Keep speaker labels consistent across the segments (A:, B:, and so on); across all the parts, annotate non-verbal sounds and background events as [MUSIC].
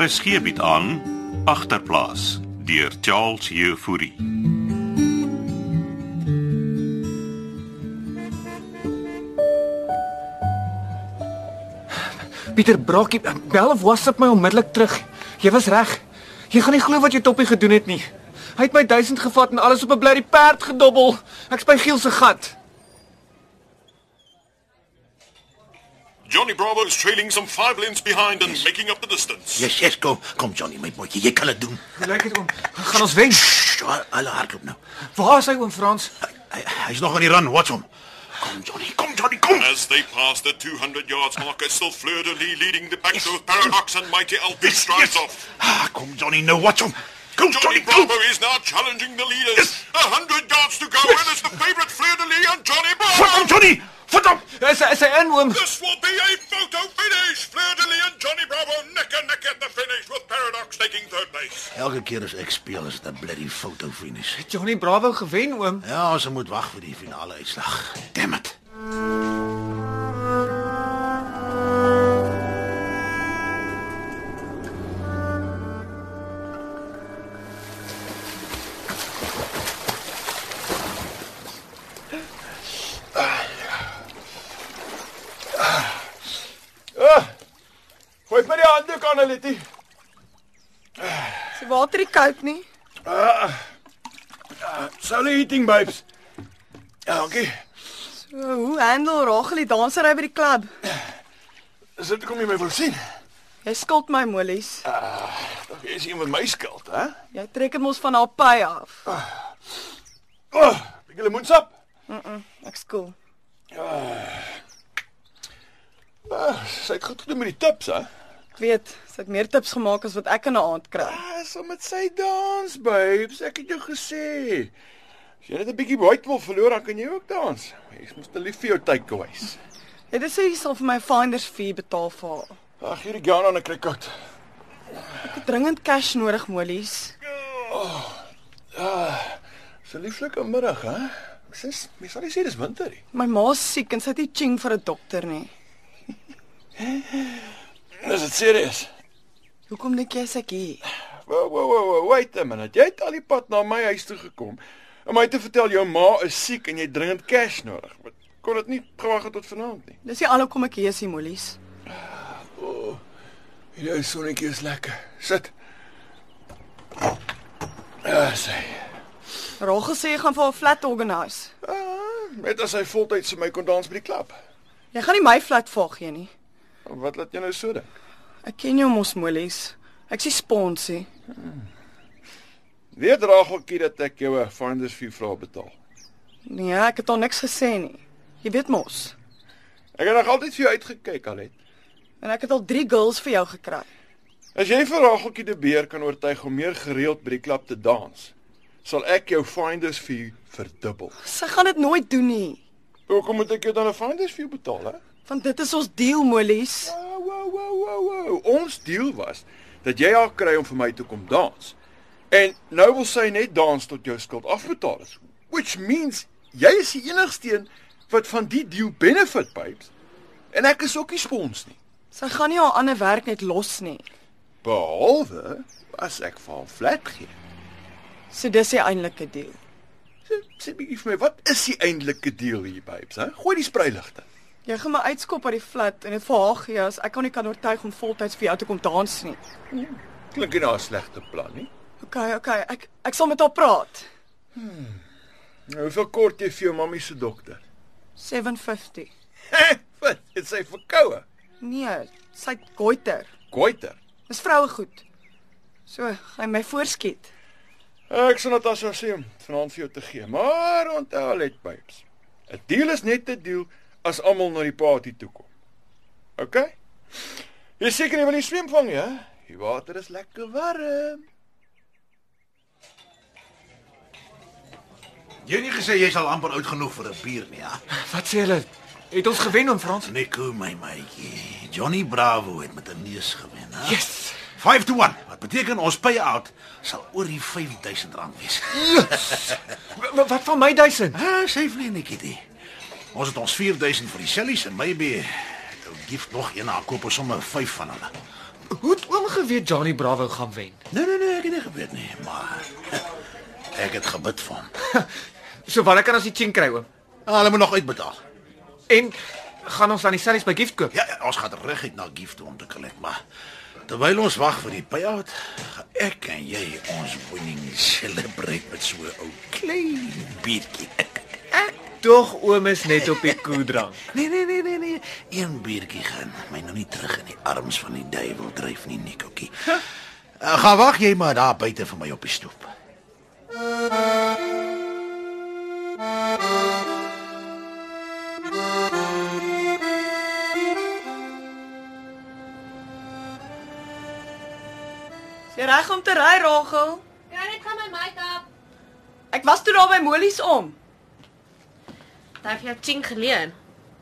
A: RSG bied Er aan agterplaas deur Charles Jefouri.
B: Pieter Brokkie, bel of WhatsApp my onmiddellik terug. Jy was reg. Jy gaan nie glo wat jou toppie gedoen het nie. Hy het my 1000 gevat en alles op 'n blerrie perd gedobbel. Ek's by Giel se gat.
C: Johnny Bravo is trailing some five lengths behind and making up the distance.
D: Yes, yes, kom, kom Johnny, my potjie, jy kan dit doen.
B: Hoe lyk dit oom? Gaan ons wen?
D: Sst, Alle hardloop nou.
B: Waar is hy oom Frans?
D: Hy, hy's nog aan die run, watch hom. Kom Johnny, kom Johnny, kom.
C: As they pass the 200 yards mark, it's still Fleur de Lis leading the pack of Paradox and Mighty Alpine strides off.
D: Ah, kom Johnny, nou watch hom. Kom
C: Johnny
D: Johnny, kom.
C: Bravo is now challenging the leaders.
D: Yes.
C: A hundred yards to go, and it's the favorite Fleur de Lis and Johnny
D: Vat
C: Bravo.
D: hom Johnny, vat hom.
B: Is hy is hy in oom?
C: This will be a photo finish. Fleur de Lis and Johnny Bravo neck and neck at the finish, with Paradox taking third place.
D: Elke keer as ek speel is dit 'n bloody foto finish.
B: Johnny Bravo gewen oom.
D: Ja, ons moet wag vir die finale uitslag. Damn it.
E: Ah, Gooi vir die handdoek aan hulle dit.
F: Is die water nie koud nie?
E: Sal eating babes. Ja, okay.
F: So, hoe handle Rachel die dansery by die klub?
E: Is dit kom jy my wil sien?
F: Jy skuld my molies.
E: Dog jy is iemand my skuld, hè?
F: Jy trek dit mos van haar pay af.
E: O, oh, bietjie lemoensap.
F: Ek skool.
E: Ah, sy het goed gedoen met die tips, hè?
F: Ek weet, sy het meer tips gemaak as wat ek in 'n aand kry.
E: Ah, so met sy dans, babes. Ek het jou gesê. As jy net 'n bietjie weight wil verloor, dan kan jy ook dans. Jy's mos te lief vir jou takeaways.
F: Jy dis sê jy sal vir my finders fee betaal vir haar.
E: Ag, hierdie gaan aan 'n krikkout.
F: Ek het dringend cash nodig, molies.
E: Dis 'n lieflike middag, hè? Sis, mens sal nie sê dis winter nie.
F: My ma's siek en sy het nie ching vir 'n dokter nie.
E: Is dit serieus?
F: Hoekom dink jy sy's ek hier?
E: Wow, wow, wow, wow, wait a minute. Jy het al die pad na my huis toe gekom om my te vertel jou ma is siek en jy het dringend cash nodig. Wat kon dit nie gewag het tot vanaand nie.
F: Dis nie al hoekom ek hier is, nie, molies.
E: Hierdie ou sonnetjie is lekker. Sit. Ah, sê.
F: Rachel sê jy gaan vir haar flat organise.
E: Ah, net as hy voltyds vir my kon dans by die klub.
F: Jy gaan nie my flat vaag gee nie.
E: Wat laat jy nou so dink?
F: Ek ken jou mos, molies. Ek sê sponsie.
E: Weet Rageltjie dat ek jou 'n finders fee vra betaal.
F: Nee, ek het al niks gesê nie. Jy weet mos.
E: Ek het nog altyd vir jou uitgekyk, Alet.
F: En ek het al 3 girls vir jou gekry.
E: As jy vir Rageltjie de Beer kan oortuig om meer gereeld by die klub te dans, sal ek jou finders fee verdubbel.
F: Sy gaan dit nooit doen nie,
E: Hoekom moet ek jou dan 'n finders fee betaal, hè?
F: want dit is ons deal, Molies.
E: Wow, wow, wow, wow, wow. Ons deal was dat jy haar kry om vir my toe kom dans. En nou wil sy net dans tot jou skuld afbetaal is. Which means jy is die enigste een wat van die deal benefit, babes. En ek is ook nie spons nie.
F: Sy gaan nie haar ander werk net los nie.
E: Behalwe as ek vir haar flat gee.
F: So dis die eintlike deal.
E: Sê- Sê bietjie vir my, wat is die eintlike deal hier, babes, hè? Gooi die spreiligte.
F: Jy gaan my uitskop uit die flat en dit vir haar gee as ek kan nie kan oortuig om voltyds vir jou te kom dans nie.
E: Klink nie na 'n slegte plan nie.
F: OK, OK, ek ek sal met haar praat.
E: Nou, hoeveel kort jy vir jou mammie se dokter? [LAUGHS]
F: 750.
E: Wat? Dit sê verkoue.
F: Nee, sy het goiter.
E: Goiter.
F: Dis vroue goed. So, gaan jy my voorskiet.
E: Ek sal Natasha sê om vanaand vir jou te gee, maar onthou net babes. 'n Deal is net 'n deal as almal na die party toe kom. OK? Jy is seker jy wil nie swem vang nie, hè? Die water is lekker warm.
D: Jy het nie gesê jy's al amper oud genoeg vir 'n bier nie, ja?
B: Wat sê hulle? Het ons gewen oom Frans?
D: Nico my maatjie. Johnny Bravo het met 'n neus gewen, hè?
B: Yes.
D: 5 to 1. Wat beteken ons payout sal oor die R5000 wees.
B: W- w- Wat van my 1000?
D: Ah, sê vir net kitty. Ons het ons 4000 vir die sellies en maybe ek gee nog een aankoop of sommer 5 van hulle.
B: Hoe het oom geweet Johnny Bravo gaan wen?
D: Nee nee nee, ek het nie geweet nie, maar [LAUGHS] ek het gebid vir hom.
B: So wanneer kan ons die ching kry oom?
D: Ah, hulle moet nog uitbetaal.
B: En gaan ons dan die sellies by gift koop?
D: Ja, ja, ons gaan reguit na gift toe om te collect, maar terwyl ons wag vir die payout, gaan ek en jy ons winning celebrate met so 'n ou klein biertjie. [LAUGHS]
B: Tog oom is net op die koedrank.
D: Nee nee nee nee nee, een biertjie gaan my nou nie terug in die arms van die duiwel dryf nie, Nikkokie. [LAUGHS] Uh, gaan wag jy maar daar buite vir my op die stoep.
F: Is jy reg om te ry, Rachel?
G: Kan dit Ja, gaan my make-up?
F: Ek was toe daar by Molies om.
G: Dit het jou ching geleen.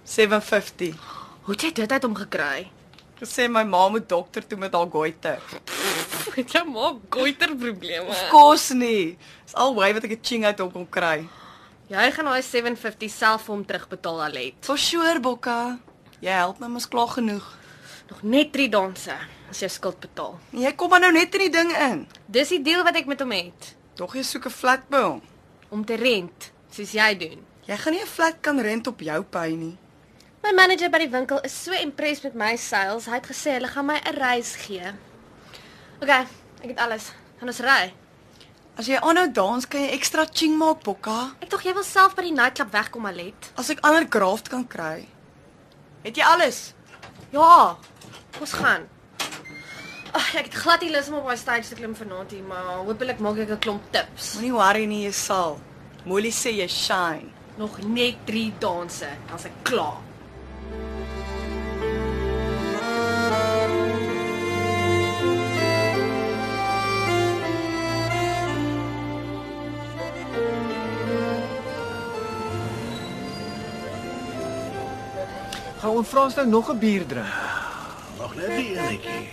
F: 750.
G: Hoe het jy dit uit hom [LAUGHS] gekry?
F: Gesê my ma moet dokter toe met haar goiter.
G: Het jou ma goiter probleme.
F: Kos nie. Dis albei wat ek 'n ching uit hom kon kry.
G: Jy gaan daai 750 self vir hom terugbetaal Alet.
F: For sure, Bokka. Jy help my mos klaar genoeg.
G: Nog net 3 danse as jy skuld betaal.
F: En Jy kom maar nou net in die ding in.
G: Dis die deal wat ek met hom het
F: Tog jy soek 'n flat by hom.
G: om te rent, soos jy doen.
F: Jy gaan nie 'n flat kan rent op jou pay nie.
G: My manager by die winkel is so impressed met my sales. Hy het gesê hulle gaan my 'n reis gee. OK, ek het alles. Gaan ons ry.
F: As jy aanhou dans, kan jy ekstra ching maak, Bokka.
G: Ek dink jy wil self by die nightclub wegkom Alet.
F: As ek ander graft kan kry. Het jy alles?
G: Ja, ons gaan. Ag, ek het glad nie lus om op daai stage te klim vanaand nie, maar hopelik maak ek 'n klomp tips.
F: Moenie worry nie, jy sal. Molly sê jy shine.
G: Nog net 3 danse, dan's ek klaar.
B: Gaan oom Frans nou nog 'n bier drink?
D: Nog net die enetjie.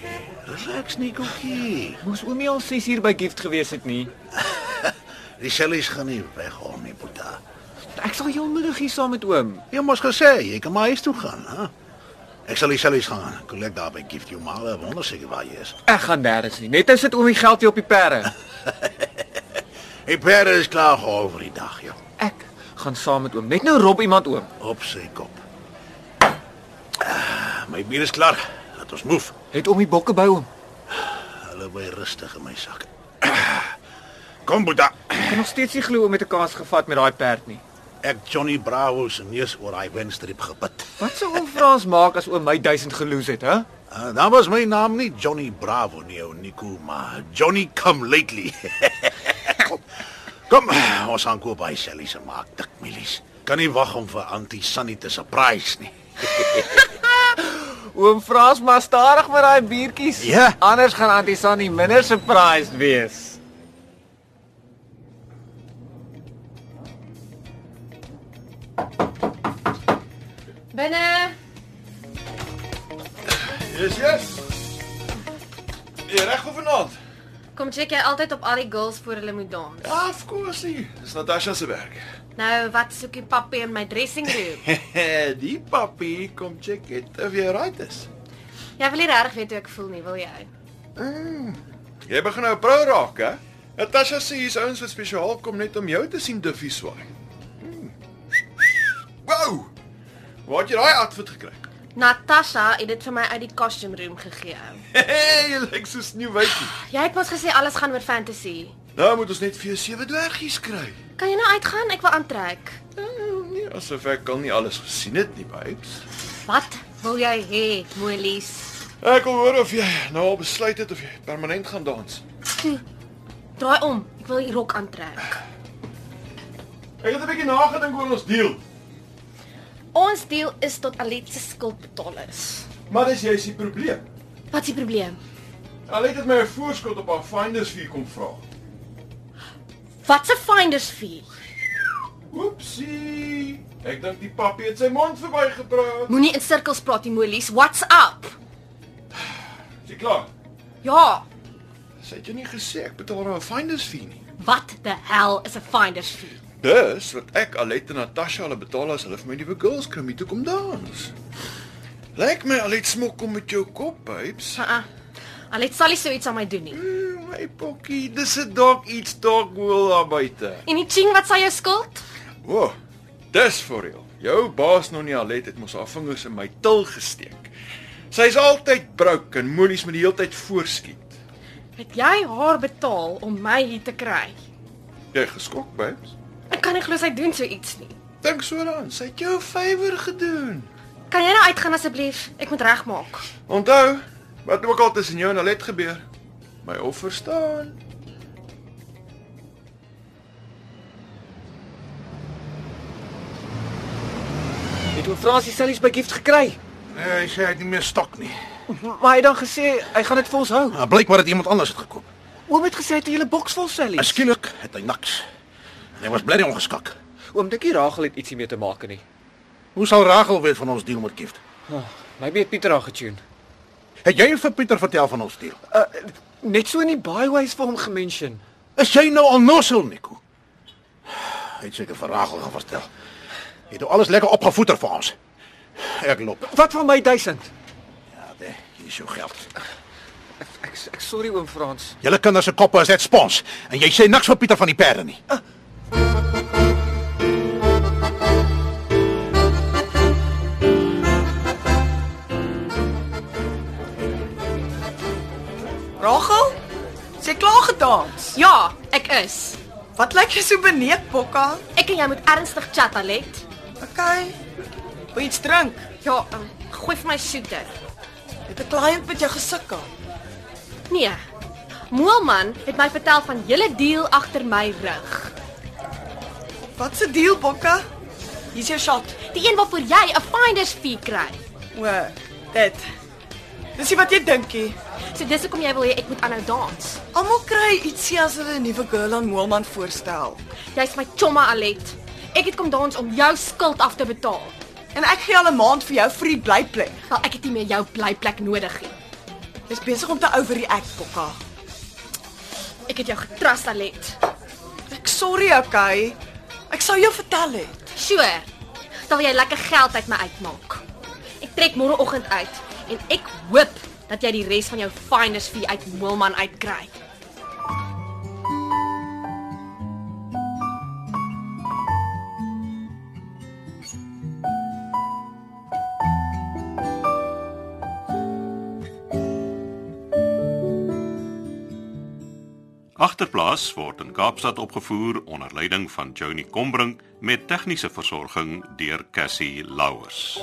D: Relax, Nikkokie.
B: Moes oomie al 6 uur by gift gewees het nie?
D: Die sellies gaan nie weghol nie, Boeta.
B: Ek sal heel middag hier saam met oom.
D: Jy moes gesê jy kan maar huis toe gaan, hè? Ek sal die sellies gaan collect daar by Gift jou maar wonder seker waar jy is.
B: Ek gaan nêrens nie. Net nou sit oomie geld weer op die perde.
D: Hey Perre is klaar gehoor vir die dag, joh.
B: Ek gaan saam met oom. Net nou rob iemand oom.
D: Op sy kop. Ah, my bier is klaar. Laat ons move.
B: Het oomie bokke by oom.
D: Hulle bly rustig in my sak. Ah, Kom Boeta.
B: Ek kan nog steeds nie glo oom het 'n kaas gevat met daai perd nie.
D: Ek Johnny Bravo se neus oor daai wenstreep gepit.
B: Wat sou oom Frans maak as oom my 1000 geloos het, hè?
D: Uh, dan was my naam nie Johnny Bravo nie, ou Nico, maar Johnny Come Lately. [LAUGHS] kom, kom, ons gaan koop by Sally se maak dik mielies. Kan nie wag om vir Auntie Sunny te surprise nie.
B: Oom Frans maar stadig met daai biertjies.
D: Ja.
B: Anders gaan Auntie Sannie minder surprised wees.
G: Binne.
E: Yes, yes. Jy reg oor vanaand?
G: Kom check jy altyd op al die girls voor hulle moet dans.
E: Ja, of course nie. Dis Natasha se werk.
D: [LAUGHS]
G: Nou, wat soek die papi in my dressing room?
E: die papi kom check het of jy right is.
G: Jy wil nie regtig weet hoe ek voel nie, wil jy?
E: Jy begin nou 'n vrou raak, hè? Natasha sê hier's ouens wat spesiaal kom net om jou te sien Duffy swaai. Hmm. Wow! Waar het jy daai outfit gekry?
G: Natasha het dit vir my uit die costume room gegee.
E: Hey, jy lyk so sneeuwwitjie.
G: Jy het mos gesê alles gaan oor fantasy.
E: Nou moet ons net vir jou sewe dwergies kry.
G: Kan jy nou uitgaan? Ek wil aantrek.
E: Nou, nee, asof ek al nie alles gesien het nie, babes.
G: Wat wil jy hê, Molies?
E: Ek wil hoor of jy nou al besluit het of jy permanent gaan dans.
G: Draai om. Ek wil die rok aantrek.
E: Ek het 'n bietjie nagedink oor ons deal,
G: Ons deal is tot Alet se skuld betaal is.
E: maar dis jy's die probleem.
G: Wat is die probleem?
E: Alet het my 'n voorskot op haar finders fee kom vra.
G: Wat se finders fee?
E: Oepsie. Ek dink die papie het sy mond verbygepraat.
G: Moenie in sirkels praat, die molies. What's up?
E: Is jy klaar?
G: Ja,
E: Sy het jou nie gesê ek betaal haar 'n finders fee nie.
G: what the hell is 'n finders fee?
E: Dus wat ek Alet en Natasha hulle betaal as hulle vir my die girls krumie toe kom dans. Lyk my Alet smok kom met jou kop, babes.
G: Uh-uh. Al het Sally so iets aan my doen nie.
E: Mm, My pokkie, dis 'n dalk iets dalk wil daar buite.
G: En die ching wat sy jou skuld?
E: O, oh, dis vir real. Jou baas Nonjalet het mos haar vingers in my til gesteek. Sy's altyd brouk en moenies met die heeltyd voorskiet.
G: Het jy haar betaal om my hier te kry?
E: Jy geskok, babes?
G: Ek kan nie glo sy doen so iets nie.
E: Dink so daaraan. Sy het jou 'n favour gedoen.
G: Kan jy nou uitgaan asseblief? Ek moet regmaak.
E: Onthou, wat ook al tussen jou en Alet gebeur, my offer staan.
B: Het oom Fransie sellies by gift gekry.
D: Nee, hy sê hy het nie meer stok nie.
B: Maar hy het dan gesê hy gaan dit vir ons hou.
D: Maar blykbaar het iemand anders dit gekoop.
B: Oom het gesê hy het 'n hele boks vol
D: En
B: sellies.
D: skielik het hy niks. En hy was bly ongeskak.
H: Oom Dikkie Ragel het ietsie mee te maak nie.
D: Hoe sal Rachel weet van ons deal met gift?
H: Maybe het Pieter aan getune.
D: Het jy vir Pieter vertel van ons deal?
B: Net so in die byways vir hom gemen.
H: Mention.
D: Is jy nou onnosel, Nico? Hy het seker vir Rachel gaan vertel. Hy het nou alles lekker opgevoeter vir ons. Ek loop.
B: Wat van my 1000?
D: Ja, daar, hier is jou geld.
B: Ek ek sorry oom Frans.
D: Julle kinders se koppe is net spons en jy sê niks vir Pieter van die perde nie.
F: Rachel, sy klaar gedans.
G: Ja, ek is.
F: Wat lyk jy so beneek, Bokka?
G: Ek en jy moet ernstig chat, Alet.
F: Okay. Wil jy iets drink?
G: Ja, um, gooi vir my shooter.
F: Het 'n kliënt met jou gesukkel.
G: Nee. Moelman het my vertel van julle deal agter my rug.
F: Wat se deal, Bokka? Hier's jou shot.
G: Die een waarvoor jy 'n finder's fee kry.
F: O, dit. Dis nie wat jy dinkie.
G: So dis hoekom jy wil hê ek moet aanhou dans.
F: Almal kry ietsie as hulle 'n nuwe girl aan Moelman voorstel.
G: Jy's my chomma Alet. Ek het kom dans om jou skuld af te betaal.
F: En ek gee al 'n maand vir jou free blyplek.
G: Wel, ek het nie meer jou blyplek nodig nie.
F: Jy's besig om te overreact, Bokka.
G: Ek het jou getrust Alet.
F: Ek sorry, okay. Ek sou jou vertel het.
G: Sure. Dan wil jy lekker geld uit my uitmaak. Ek trek môreoggend uit en ek hoop dat jy die res van jou finder's fee uit Moelman uitkry.
A: Agterplaas word in Kaapstad opgevoer onder leiding van Johnny Combrink met tegniese versorging deur Cassie Louws.